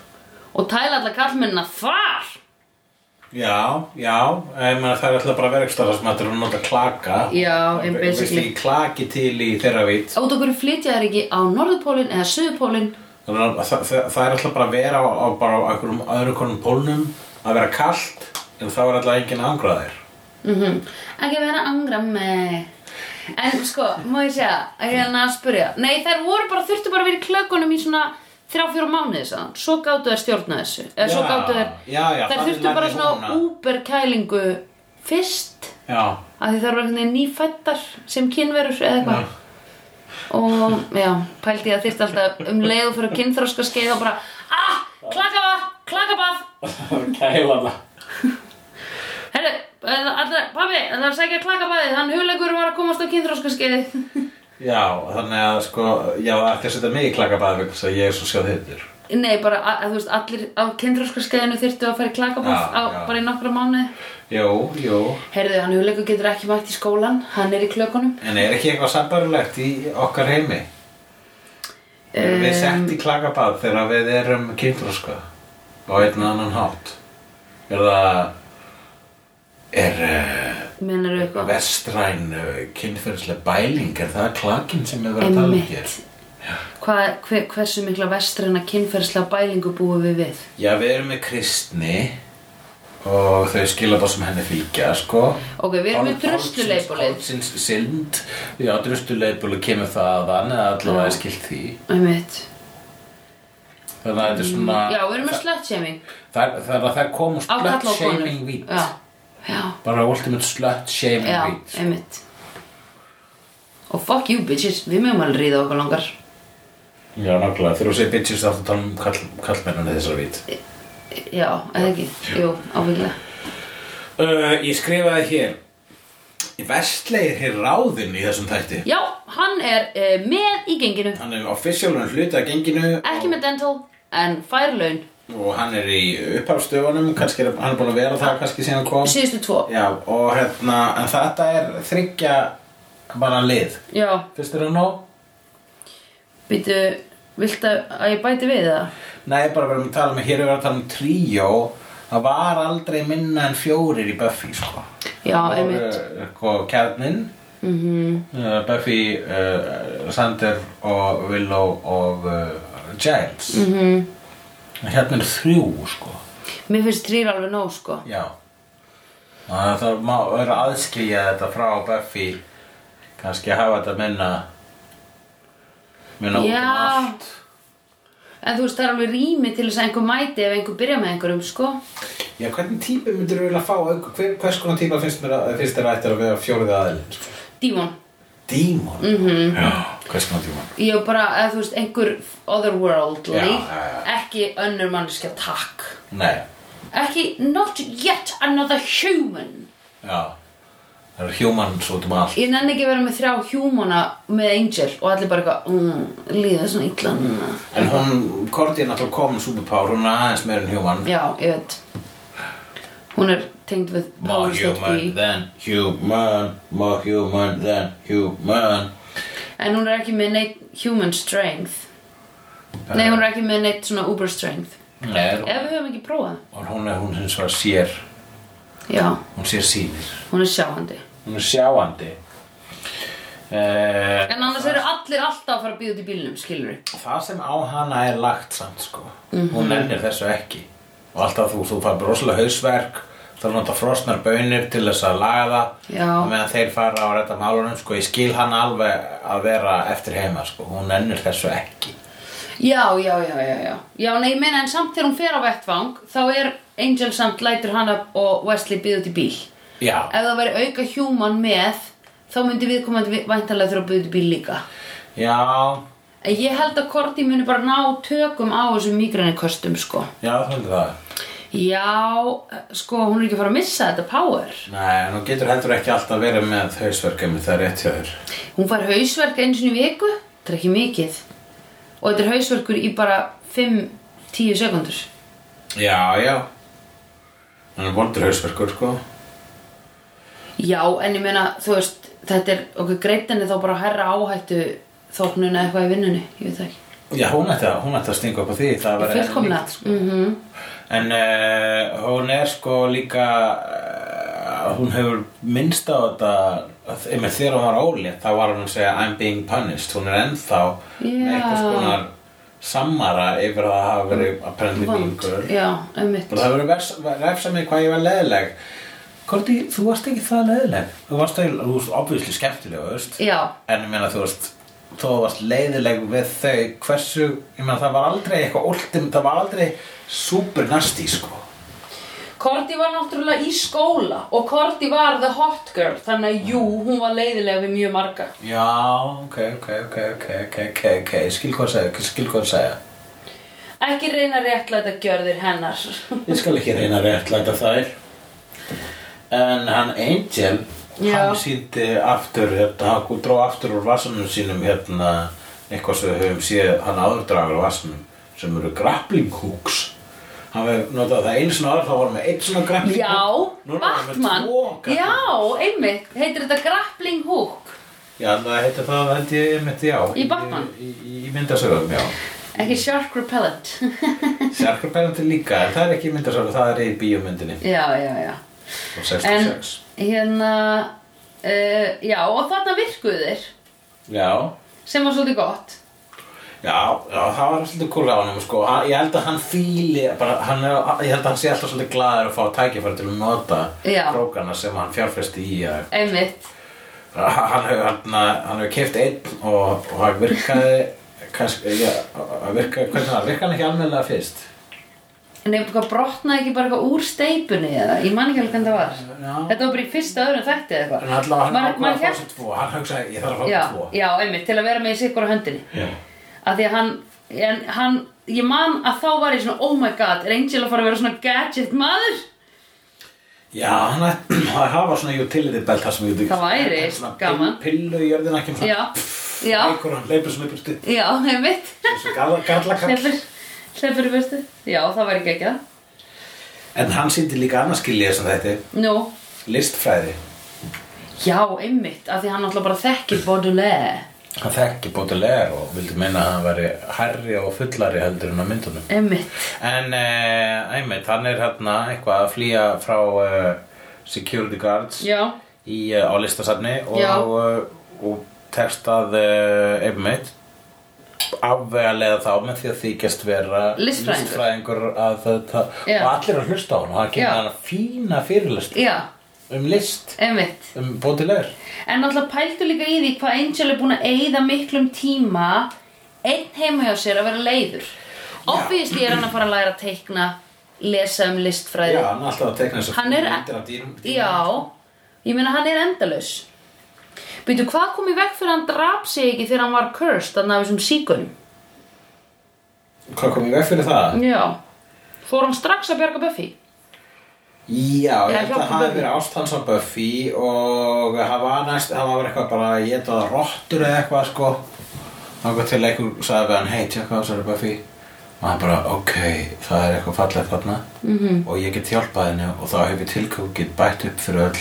Speaker 2: og tæla alla kallmennina þar
Speaker 1: Já, já, ég meina það er alltaf bara verkstæða sem þetta er að nota klaka.
Speaker 2: Já, en basically-
Speaker 1: Basically klaki til í þeirra vít.
Speaker 2: út okkur flytja þær ekki á norðupólinn eða suðupólinn
Speaker 1: Þannig að það, það, það er alltaf bara að vera á, á, bara á einhverjum öðru konum pólnum að vera kalt en þá er alltaf enginn angraðir.
Speaker 2: Mhm. ekki vera að angra mig en sko, má ég segja að hérna að spyrja, nei þær voru bara þurftu bara að vera í klökunum í svona þrjá fjóra mánuði sann, svo gáttu þær stjórna þessu eða svo
Speaker 1: Já,
Speaker 2: gáttu þær,
Speaker 1: já, já,
Speaker 2: þær
Speaker 1: þannig
Speaker 2: þurftu bara
Speaker 1: lærði
Speaker 2: svona
Speaker 1: hún að-
Speaker 2: úber kælingu fyrst
Speaker 1: Já.
Speaker 2: að því þær voru einhvern veginn nýfættar sem kynverur eða eitthvað
Speaker 1: Já.
Speaker 2: og já, pældi ég að þyrfti alltaf um leiðu fyrir kynþróska skeið og bara ah, klakabað, klakabað
Speaker 1: Kæla það.
Speaker 2: Herru, pabbi, það er að sækja klakabæðið, hann hugleikur var að komast á kynþróskaskeiðið.
Speaker 1: Já, þannig að sko, já, það er ekki að setja mig í klakkabæði vegna þess að ég er svo sjá þittur.
Speaker 2: nei, bara að, að þú veist, allir á kindröskarskeiðinu þyrftu að fara í klakabúð
Speaker 1: Já,
Speaker 2: á,
Speaker 1: já.
Speaker 2: bara í nokkra mánuði
Speaker 1: Jú, jú
Speaker 2: Heyrðu, hann hugleikur getur ekki mætt í skólan, hann er í klökunum
Speaker 1: En er ekki eitthvað sambarilegt í okkar heimi? Erum við sett í klakabað þegar við erum kynþróska á einn annan hátt? Er það er uh,
Speaker 2: Menar eitthvað?
Speaker 1: vestræn uh, kynferðislega bæling er það klakinn sem við verðum að tala um hér?
Speaker 2: Einmitt Hvað, hver, Hversu mikla vestræna kynferðslega bælingu búum við við?
Speaker 1: Já, við erum með kristni og þau skilabóð sem henni fylgja, sko
Speaker 2: Ok, við erum með
Speaker 1: Pál- Pálsins-
Speaker 2: drustuleipulið
Speaker 1: Pálsins synd, já, drustuleipulið kemur þaðan eða allavega er skilt því
Speaker 2: Einmitt
Speaker 1: Þannig að þetta er svona
Speaker 2: Já, við erum með slutshaming
Speaker 1: Það er að það komum
Speaker 2: á
Speaker 1: Ah, slut
Speaker 2: kalla og
Speaker 1: shaming vít
Speaker 2: Já, já,
Speaker 1: Bara ultimate slut shaming
Speaker 2: já,
Speaker 1: vít
Speaker 2: einmitt sko. Og fuck you bitches, við mögum alveg ríða okkur langar
Speaker 1: Já, nákvæmlega, þegar þú segir bitches þá ertu að tala um kall, kallmennana þessar vít
Speaker 2: Já, eða ekki, jú, ábyggilega
Speaker 1: uh, Ég skrifaði hér Vestlegir hér ráðinn í þessum þætti
Speaker 2: Já, hann er uh, með í genginu
Speaker 1: Hann er offisjálunum hluta að genginu
Speaker 2: Ekki með dental, en fær laun
Speaker 1: Og hann er í upphafstöfunum, kannski er hann er búin að vera það kannski síðan hann kom
Speaker 2: Síðustu tvo
Speaker 1: Já, og hérna, en þetta er þryggja bara lið.
Speaker 2: Já,
Speaker 1: Fyrst er það nóg?
Speaker 2: býtu, viltu að ég bæti við það?
Speaker 1: Nei, bara verðum að tala um, hér er verið að tala um tríó, það var aldrei minna en fjórir í Buffy, sko.
Speaker 2: Já,
Speaker 1: Það voru,
Speaker 2: einmitt Mhm.
Speaker 1: Sko, kjarnin, uh, Buffy, uh, Sander og Willow og uh, Giles. Mm -hmm. Hérna er þrjú, sko.
Speaker 2: Mhm. Mér finnst þrýr alveg nóg, sko
Speaker 1: Já. Það það má vera að aðskilja þetta frá Buffy, kannski hafa þetta minna, minna út
Speaker 2: Já.
Speaker 1: um allt.
Speaker 2: En þú veist, það er alveg rými til þess að einhver mæti ef einhver byrja með einhverjum, sko
Speaker 1: Já, hvernig típi myndir þú vilja fá? Hver, hvers konar típa finnst, mér að, finnst þér ættir að vera fjórið aðeins?
Speaker 2: Dímon
Speaker 1: Dímon? Mm
Speaker 2: Mhm.
Speaker 1: -hmm. Já, hvers konar dímon?
Speaker 2: Ég er bara, eða þú veist, einhver otherworldly
Speaker 1: Já, já, já.
Speaker 2: Ekki önnur manneskja, takk
Speaker 1: Nei,
Speaker 2: Ekki, not yet another human
Speaker 1: já. Það eru humans út um allt.
Speaker 2: Ég nenni ekki að vera með þrjá hjúmana með Angel og allir bara eitthvað, mm, líða svona illa núna.
Speaker 1: En hún, Korti er náttúrulega komin superpower, hún er aðeins meira en human.
Speaker 2: Já, ég veit. Hún er tengd við
Speaker 1: More
Speaker 2: powers that
Speaker 1: human
Speaker 2: be.
Speaker 1: than human, more human than human.
Speaker 2: En hún er ekki með neitt human strength. Nei, hún er ekki með neitt svona uber strength.
Speaker 1: Nei,
Speaker 2: Ef við höfum ekki prófað.
Speaker 1: og hún er hún hins vegar sér,
Speaker 2: Já,
Speaker 1: hún sér sínir.
Speaker 2: hún er sjáandi.
Speaker 1: Hún er sjáandi. Eh,
Speaker 2: En annars eru allir alltaf að fara að býða út í bílnum, skilur við.
Speaker 1: Það sem á hana er lagt samt sko Hún nennir þessu ekki Og alltaf þú, þú fær rosalega hausverk Það er náttúrulega frosnar baunir til þess að laga það
Speaker 2: Já.
Speaker 1: Og meðan þeir fara á rétta málunum sko Ég skil hann alveg að vera eftir heima sko Hún nennir þessu ekki
Speaker 2: Já, já, já, já, já. Já, nei, ég meina en samt þegar hún fer á vettvang, þá er Angel samt lætur hana og Wesley býða út í bíl.
Speaker 1: Já,
Speaker 2: ef það væri auka human með þá myndi viðkomandi væntanlega þurfa að byrja bíl líka
Speaker 1: já,
Speaker 2: en ég held að Korti muni bara ná tökum á þessum migræniköstum sko
Speaker 1: já þú heldur það
Speaker 2: já, sko hún er ekki að fara að missa þetta power
Speaker 1: Nei, en hún getur heldur ekki alltaf verið með hausverkum Það er rétt hjá þér
Speaker 2: hún fær hausverk eins og í viku þetta er ekki mikið og þetta er hausverkur í bara 5-10 sekundur
Speaker 1: Já, já Hann er vondur hausverkur sko
Speaker 2: já, en ég meina þú veist þetta er okkur greitt henni þá bara að herra áhættu þóknun eða eitthvað í vinnunni ég veit það ekki
Speaker 1: Já, hún ætti að, hún ætti að stinga upp á því Það var
Speaker 2: fullkomlega mhm
Speaker 1: En uh, hún er sko líka uh, hún hefur minnst á þetta að- einmitt þegar hún var ólétt þá var hún að segja I'm being punished hún er ennþá með
Speaker 2: Já.
Speaker 1: einhvers konar sammara yfir að hafa verið apparently mean
Speaker 2: vond,
Speaker 1: girl
Speaker 2: já, einmitt
Speaker 1: og það hefur verið vers- refsað mig hvað ég var leðileg Korti, þú varst ekki það leðileg þú varst ekki, þú varst obvísli skemmtileg þú veist.
Speaker 2: já,
Speaker 1: en ég meina þú veist þó þú varst leiðileg við þau hversu, ég meina það var aldrei eitthvað últim, það var aldrei super nasty sko
Speaker 2: Korti var náttúrulega í skóla og Korti var the hot girl þannig að jú, hún var leiðilega við mjög marga
Speaker 1: Já, ok, ok, ok, ok, ok, ok, ok, ég skil hvað að segja, ég skil hvað að segja.
Speaker 2: ekki reyna að réttlæta gjörðir hennar
Speaker 1: Ég skal ekki reyna að réttlæta þær. En hann Angel,
Speaker 2: Já.
Speaker 1: hann síndi aftur, hérna, hann dró aftur úr vassanum sínum, hérna, eitthvað sem við höfum séð, hann áður dragur úr vassanum, sem eru grappling hooks hann hefur notað það einu svona aðra þá var hann með einn svona grappling
Speaker 2: Já,
Speaker 1: hook Núna er hann með
Speaker 2: Batman
Speaker 1: tvo grappling
Speaker 2: Já, einmitt, heitir þetta grappling hook
Speaker 1: Já, það heitir það held ég einmitt, já.
Speaker 2: Í Batman?
Speaker 1: Í, í, í myndasögum, já.
Speaker 2: Ekki shark repellent
Speaker 1: Sjarkarbælandi líka, en það er ekki í myndasögum, það er í bíómyndinni.
Speaker 2: Já, já, já
Speaker 1: frá
Speaker 2: En
Speaker 1: 66.
Speaker 2: hérna uh, Já, og þarna virkuðu þeir
Speaker 1: Já,
Speaker 2: sem var svolítið gott
Speaker 1: já, já, það var svolítið kúl á hann, sko. Hann- Ég held að hann fíli, bara, hann er, ég held að hann sé alltaf svolítið glaður að fá tækifæri til að nota
Speaker 2: Já.
Speaker 1: krókana sem hann fjárfesti í að
Speaker 2: Einmitt
Speaker 1: hann hefur hann, hann hefur keft einn og, og hann virkaði kannski, já, hann virkaði, hvernig það, virkaði hann ekki almennilega fyrst?
Speaker 2: En ég bara brotnaði ekki bara eitthvað úr steipunni eða, ég man ekki alveg hvernig það var
Speaker 1: Já.
Speaker 2: Þetta var bara í fyrsta öðrum þætti eða
Speaker 1: En
Speaker 2: eitthvað
Speaker 1: allavega hann
Speaker 2: Maður-
Speaker 1: ákvaði
Speaker 2: maður
Speaker 1: að fá
Speaker 2: hélt-
Speaker 1: sér tvo, hann hugsaði, ég þarf að
Speaker 2: já,
Speaker 1: fá tvo.
Speaker 2: já, einmitt, til að vera með í sikkur á höndinni
Speaker 1: Já.
Speaker 2: Af því að hann, en hann, ég man að þá var ég svona, oh my god, er Angel að fara að vera svona gadget maður?
Speaker 1: Já, hann ætti að hafa svona utility belt þar sem ég
Speaker 2: Það væri
Speaker 1: svona
Speaker 2: gaman.
Speaker 1: pill- pillu í jörðina ekki um
Speaker 2: Já, já,
Speaker 1: Einhver hann leipur svona í burtu
Speaker 2: já, einmitt
Speaker 1: Svo galla- gallakall
Speaker 2: Hleppur, hleppur í byrstu Já, það var ekki ekki það
Speaker 1: En hann sýndi líka annars skilja þess að þetta
Speaker 2: Nú,
Speaker 1: Listfræði
Speaker 2: já, einmitt, af því hann náttúrulega bara þekkir Baudelaire
Speaker 1: Hann þekki bótilegar og vildi meina að hann væri herri og fullari heldur en á myndunum
Speaker 2: Einmitt,
Speaker 1: En eh, einmitt, hann er hérna eitthvað að flýja frá eh, security guards
Speaker 2: já,
Speaker 1: í, eh, á listasafni og,
Speaker 2: Já.
Speaker 1: og, og tekst að eh, einmitt afvegalega þá með því að þykjast vera
Speaker 2: Listfræðingur.
Speaker 1: listfræðingur að þetta,
Speaker 2: Já.
Speaker 1: og allir að hlusta á hann og það
Speaker 2: Já.
Speaker 1: kemur hann fína fyrirlist
Speaker 2: já,
Speaker 1: um list,
Speaker 2: einmitt
Speaker 1: um bótilegur
Speaker 2: En náttúrulega pældu líka í því hvað Angel er búin að eyða miklum tíma einn heima hjá sér að vera leiður. Obviously er hann að fara að læra að teikna, lesa um listfræði.
Speaker 1: Já, hann er alltaf að tekna þess
Speaker 2: Hann er-
Speaker 1: myndir af dýrum
Speaker 2: Já, ég meina hann er endalaus. Býtu, hvað kom í veg fyrir að hann drap sig ekki þegar hann var cursed þannig af þessum síkunum?
Speaker 1: Hvað kom ég veg fyrir það?
Speaker 2: Já. Fór hann strax að bjarga Buffy?
Speaker 1: Já, ég held
Speaker 2: Eða
Speaker 1: að
Speaker 2: hjálpa
Speaker 1: það hafi
Speaker 2: Buffy.
Speaker 1: verið ást hans á Buffy og hann var næst, hann var eitthvað bara að geta rottur eða eitthvað sko Þannig til einhver sagði við hann, hei, tjekka á þessari Buffy og hann bara, ok, það er eitthvað fallegt þarna
Speaker 2: Mhm.
Speaker 1: -hmm. og ég get hjálpað henni og þá hef ég tilkókið bætt upp fyrir öll,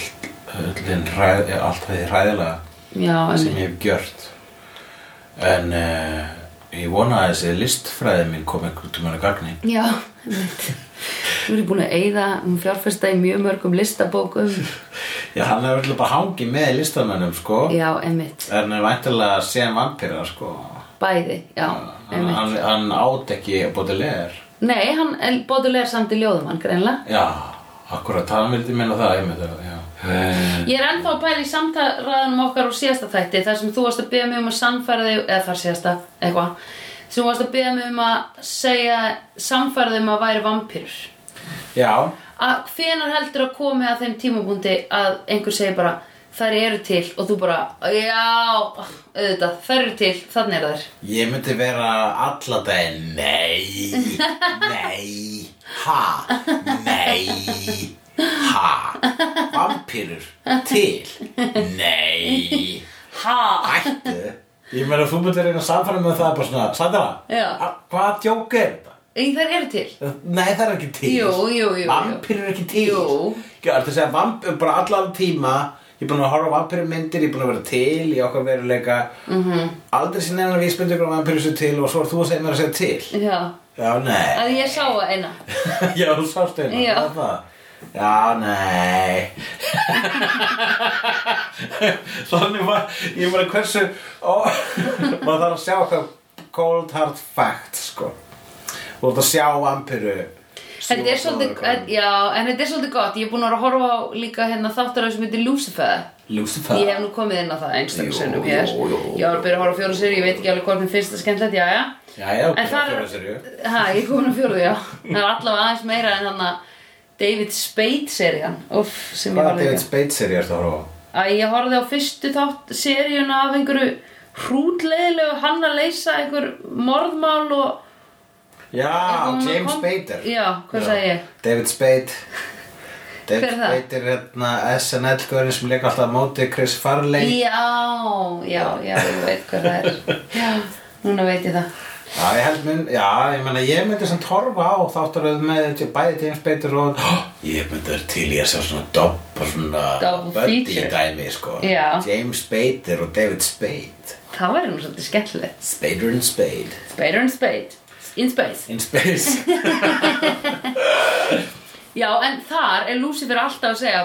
Speaker 1: öllin ræð, allt það hræðilega
Speaker 2: Já,
Speaker 1: sem
Speaker 2: einmitt.
Speaker 1: ég hef gjört en uh, ég vona að þessi listfræði mín kom einhvern tímann að gagni
Speaker 2: Já, einmitt. Þú erum búin að eyða, hún fjárfesta í mjög mörgum listabókum.
Speaker 1: Já, hann hefur alltaf bara hangið með listamönnum sko
Speaker 2: Já, einmitt.
Speaker 1: En er væntalega sem vampýra sko
Speaker 2: Bæði, já,
Speaker 1: Hann,
Speaker 2: einmitt.
Speaker 1: hann, hann át ekki að bóti leir
Speaker 2: Nei, hann er bóðulegur samt í ljóðum hann, greinlega.
Speaker 1: Já, akkurat, hann vildi minna það ég með það, já Eh,
Speaker 2: Ég er ennþá að pæla í samtaraðanum okkar úr síðasta þætti, þar sem þú varst að byggja mig um að sannfæra þig, eða þar síðasta, eitthvað, sem þú varst að byggja mig um að segja samfæra þig um að væri vampýrur.
Speaker 1: Já,
Speaker 2: Að hvenar heldur að komi að þeim tímabúndi að einhver segir bara, þær eru til, og þú bara, já, auðvitað, þær eru til, þannig er þær.
Speaker 1: ég myndi vera alla daginn Nei, nei, ha, nei, ha Vampýrur, til, nei,
Speaker 2: Ha!
Speaker 1: hættu Ég meina, þú myndir reyna að samfæra með það bara svona, Sandra,
Speaker 2: Já.
Speaker 1: a- hvaða djók er þetta?
Speaker 2: Í þær eru til.
Speaker 1: Nei, það er ekki til
Speaker 2: Jú, jú, jú, jú.
Speaker 1: Vampýrur er ekki til
Speaker 2: Jú.
Speaker 1: Já, ertu að segja vamp, bara allan tíma Ég er búin að horfa á vampýrumyndir Ég er búin að vera til í okkar veruleika mm
Speaker 2: Mhm.
Speaker 1: -hmm. Aldrei sinni en að við spyndum ykkur vampýrur sér til Og svo er þú að segja mér að segja til
Speaker 2: Já,
Speaker 1: Já, nei
Speaker 2: að ég sá að eina.
Speaker 1: Já, þú sást einu
Speaker 2: Já.
Speaker 1: Já, nei Þannig var Ég meina hversu ó, Maður þarf að sjá hvað Cold hard fact, sko Þú ert að sjá vampýru
Speaker 2: Þetta er svolítið, en- já, en þetta er svolítið gott. Ég er búin að vera að horfa á líka hérna þáttur af sem heitir Lucifer.
Speaker 1: Lucifer
Speaker 2: Ég hef nú komið inn á það einstaklega
Speaker 1: Jú,
Speaker 2: sinnum hér.
Speaker 1: jú, jú.
Speaker 2: Ég var að byrja að horfa á fjóru sér, ég veit ekki alveg hvort mér finnst það skemmtilegt, já, já.
Speaker 1: Já, já,
Speaker 2: En það
Speaker 1: fjóra serju
Speaker 2: er, hæ, ég er komin á fjóru, já. Það er allavega aðeins meira en hann að David Spade serían, uff, sem ég
Speaker 1: Hvaða
Speaker 2: var
Speaker 1: David
Speaker 2: líka.
Speaker 1: Spade serju ertu að horfa á?
Speaker 2: Að ég horfði á fyrstu þátt seríuna af einhverju hrútleiðilegu hann að leysa einhver morðmál og...
Speaker 1: Já,
Speaker 2: Ég kom-
Speaker 1: James
Speaker 2: kom-
Speaker 1: Spader
Speaker 2: Já, hvað sagði ég?
Speaker 1: David Spade David
Speaker 2: Hver er það?
Speaker 1: Spade er hérna SNL-görinn sem leika alltaf á móti Chris Farley
Speaker 2: Já, já, já, ég veit hvað það er Já, núna veit ég það
Speaker 1: Já, ég held minn, já, ég meina, ég myndi samt horfa á þáttaröð með bæði James Bader og Ég myndi vera til í að sjá svona dopp og svona
Speaker 2: Double
Speaker 1: buddy
Speaker 2: feature.
Speaker 1: dæmi, sko
Speaker 2: Já.
Speaker 1: James Bader og David Spade
Speaker 2: Það væri nú svolítið skemmtilegt
Speaker 1: Spader and Spade
Speaker 2: Spader and Spade In Space
Speaker 1: In space
Speaker 2: Já, en þar er Lucifer alltaf að segja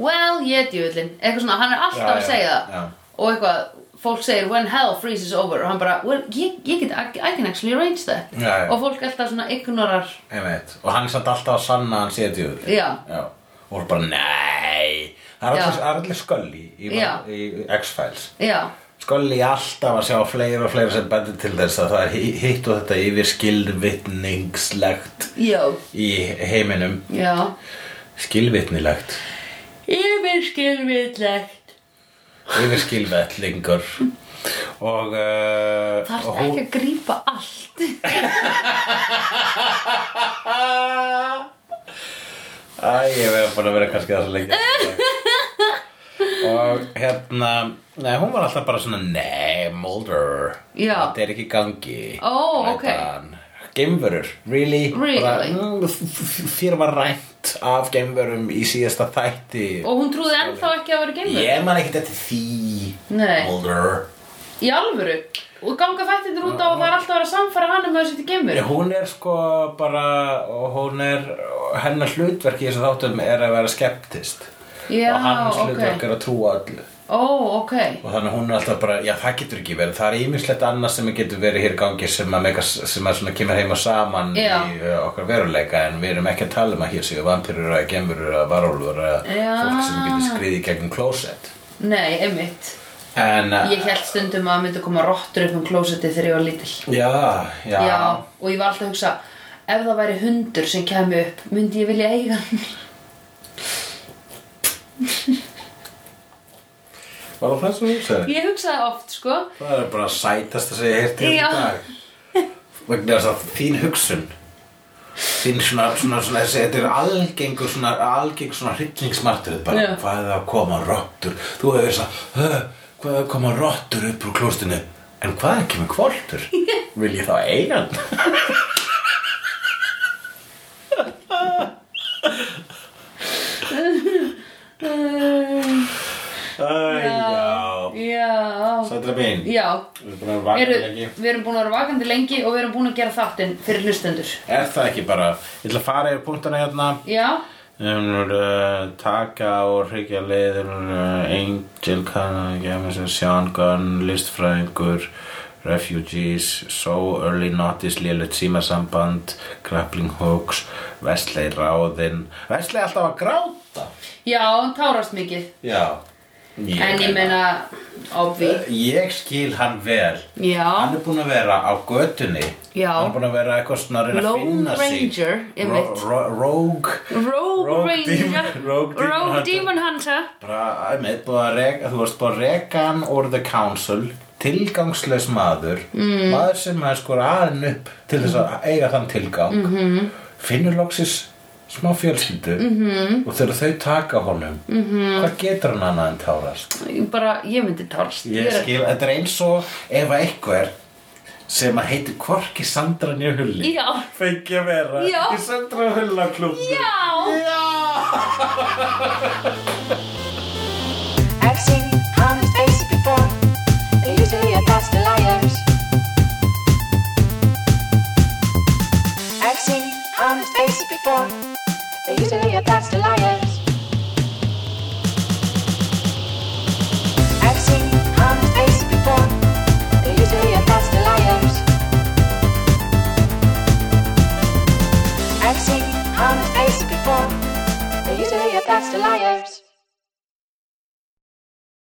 Speaker 2: Well, ég er djöfullin Eitthvað svona, hann er alltaf
Speaker 1: Já,
Speaker 2: að
Speaker 1: já,
Speaker 2: segja það
Speaker 1: já.
Speaker 2: Og eitthvað, fólk segir When hell freezes over Og hann bara, well, ég, ég get, I, I can actually arrange that
Speaker 1: Já, já.
Speaker 2: Og fólk alltaf svona ignorar
Speaker 1: Einmitt. Og hann er samt alltaf að sanna að hann sé djöfull
Speaker 2: Já.
Speaker 1: Já Og er bara, nei Það er
Speaker 2: Já.
Speaker 1: allir- það er allir skölli í,
Speaker 2: Já.
Speaker 1: í X-Files
Speaker 2: Já,
Speaker 1: Skolli alltaf að sjá fleira og fleira sem bendir til þess að það er hi- hitt og þetta yfir skilvitningslegt
Speaker 2: já,
Speaker 1: í heiminum.
Speaker 2: já
Speaker 1: Skilvitnilegt.
Speaker 2: Yfirskilvillegt
Speaker 1: Yfir skilvetlingur. Og, uh,
Speaker 2: Það
Speaker 1: og
Speaker 2: er ekki að grípa allt
Speaker 1: Æ, ég verið búin að vera kannski það svo lengi. og hérna, nei, hún var alltaf bara svona, nei, Mulder.
Speaker 2: Já.
Speaker 1: Þetta er ekki í gangi.
Speaker 2: Ó,
Speaker 1: Ræddi
Speaker 2: ok.
Speaker 1: hann. Geimverur, really?
Speaker 2: Really?
Speaker 1: Bara, mm, f- f- Þér var rænt af geimverum í síðasta þætti.
Speaker 2: Og hún trúði ennþá ekki að vera geimur
Speaker 1: Ég man ekkert eftir því,
Speaker 2: Nei.
Speaker 1: Mulder.
Speaker 2: Í alvöru Og ganga fættindir út á að það er alltaf að vera að samfæra hann um að þessi geimur
Speaker 1: Hún er sko bara, og hún er, hennar hlutverk í þessu þáttum er að vera skeptist.
Speaker 2: Já,
Speaker 1: og hans
Speaker 2: ok.
Speaker 1: hlutverk er að trúa öllu.
Speaker 2: Ó, ok
Speaker 1: Og þannig að hún er alltaf bara, já það getur ekki verið, það er ýmislegt annað sem getur verið hér í gangi sem að, mega, sem að svona kemur heima saman
Speaker 2: Já.
Speaker 1: í uh, okkar veruleika en við erum ekki að tala um að hér séu vampirur eða gemurur eða varólfur eða
Speaker 2: Já.
Speaker 1: fólk sem getur skriði gegnum klósett.
Speaker 2: Nei, einmitt
Speaker 1: En, uh,
Speaker 2: Ég held stundum að það myndi koma rottur upp um klósetti þegar ég var lítill
Speaker 1: já, já,
Speaker 2: Já, og ég var alltaf að hugsa Ef það væri hundur sem kæmi upp Myndi ég vilja eiga hann
Speaker 1: var það það sem þú sagði?
Speaker 2: Ég hugsaði oft, sko
Speaker 1: Það er bara sætast að segja hér til
Speaker 2: Já.
Speaker 1: í dag. Vegna þess að þín hugsun, þín svona, svona, svona þessi, þetta er algengur svona, algengur svona hryllingsmartrið bara.
Speaker 2: Já.
Speaker 1: Hvað er það að koma rottur? Þú hefur þess að, "Hö, hvað er að koma rottur upp úr klóstinu? En hvað er ekki með kvoltur? Vil ég þá eiga hann?
Speaker 2: Um,
Speaker 1: Æ, já.
Speaker 2: Já
Speaker 1: Sætra mín.
Speaker 2: Já,
Speaker 1: Við erum búin að vakna
Speaker 2: eru,
Speaker 1: lengi.
Speaker 2: við erum búin að vera vakandi lengi og við erum búin að gera þáttinn fyrir hlustendur.
Speaker 1: Er það ekki bara, ég ætla að fara yfir punktana hérna.
Speaker 2: Já,
Speaker 1: Þeir uh, taka og hryggja leiður uh, Angel Canada Gemison, Sean Gunn, listfræðingur Refugees So Early Notice, Lillet Símasamband Grappling Hooks Vestlei Ráðinn Vestlei alltaf að gráta
Speaker 2: já, hann tárast mikið.
Speaker 1: Já ég
Speaker 2: en ég meina, obvi.
Speaker 1: Ég skil hann vel
Speaker 2: Já,
Speaker 1: Hann er búinn að vera á götunni
Speaker 2: Já.
Speaker 1: Hann er búinn að vera eitthvað svona að reyna að
Speaker 2: Lone
Speaker 1: finna
Speaker 2: Ranger,
Speaker 1: sig
Speaker 2: einmitt.
Speaker 1: Ro- ro- Rogue
Speaker 2: Rogue,
Speaker 1: Rogue
Speaker 2: Ranger,
Speaker 1: Demon- Rogue Demon Hunter.
Speaker 2: Demon Hunter.
Speaker 1: bara, einmitt, búið að reka, þú varst búið að reka hann úr the council tilgangslaus maður mm. maður sem er sko aðeinn upp til þess að eiga þann tilgang -hmm. finnur loksis smá fjölskyldu -hmm. og þegar þau taka honum -hmm. hvað getur hann annað en tárast
Speaker 2: Ég Bara, ég myndi tárast.
Speaker 1: ég
Speaker 2: er-
Speaker 1: skil, þetta er eins og ef að einhver sem að heiti Korki Sandra Njöhulli
Speaker 2: Já.
Speaker 1: fengi að vera
Speaker 2: Já.
Speaker 1: í Sandra Hulla klubbi
Speaker 2: Já.
Speaker 1: Já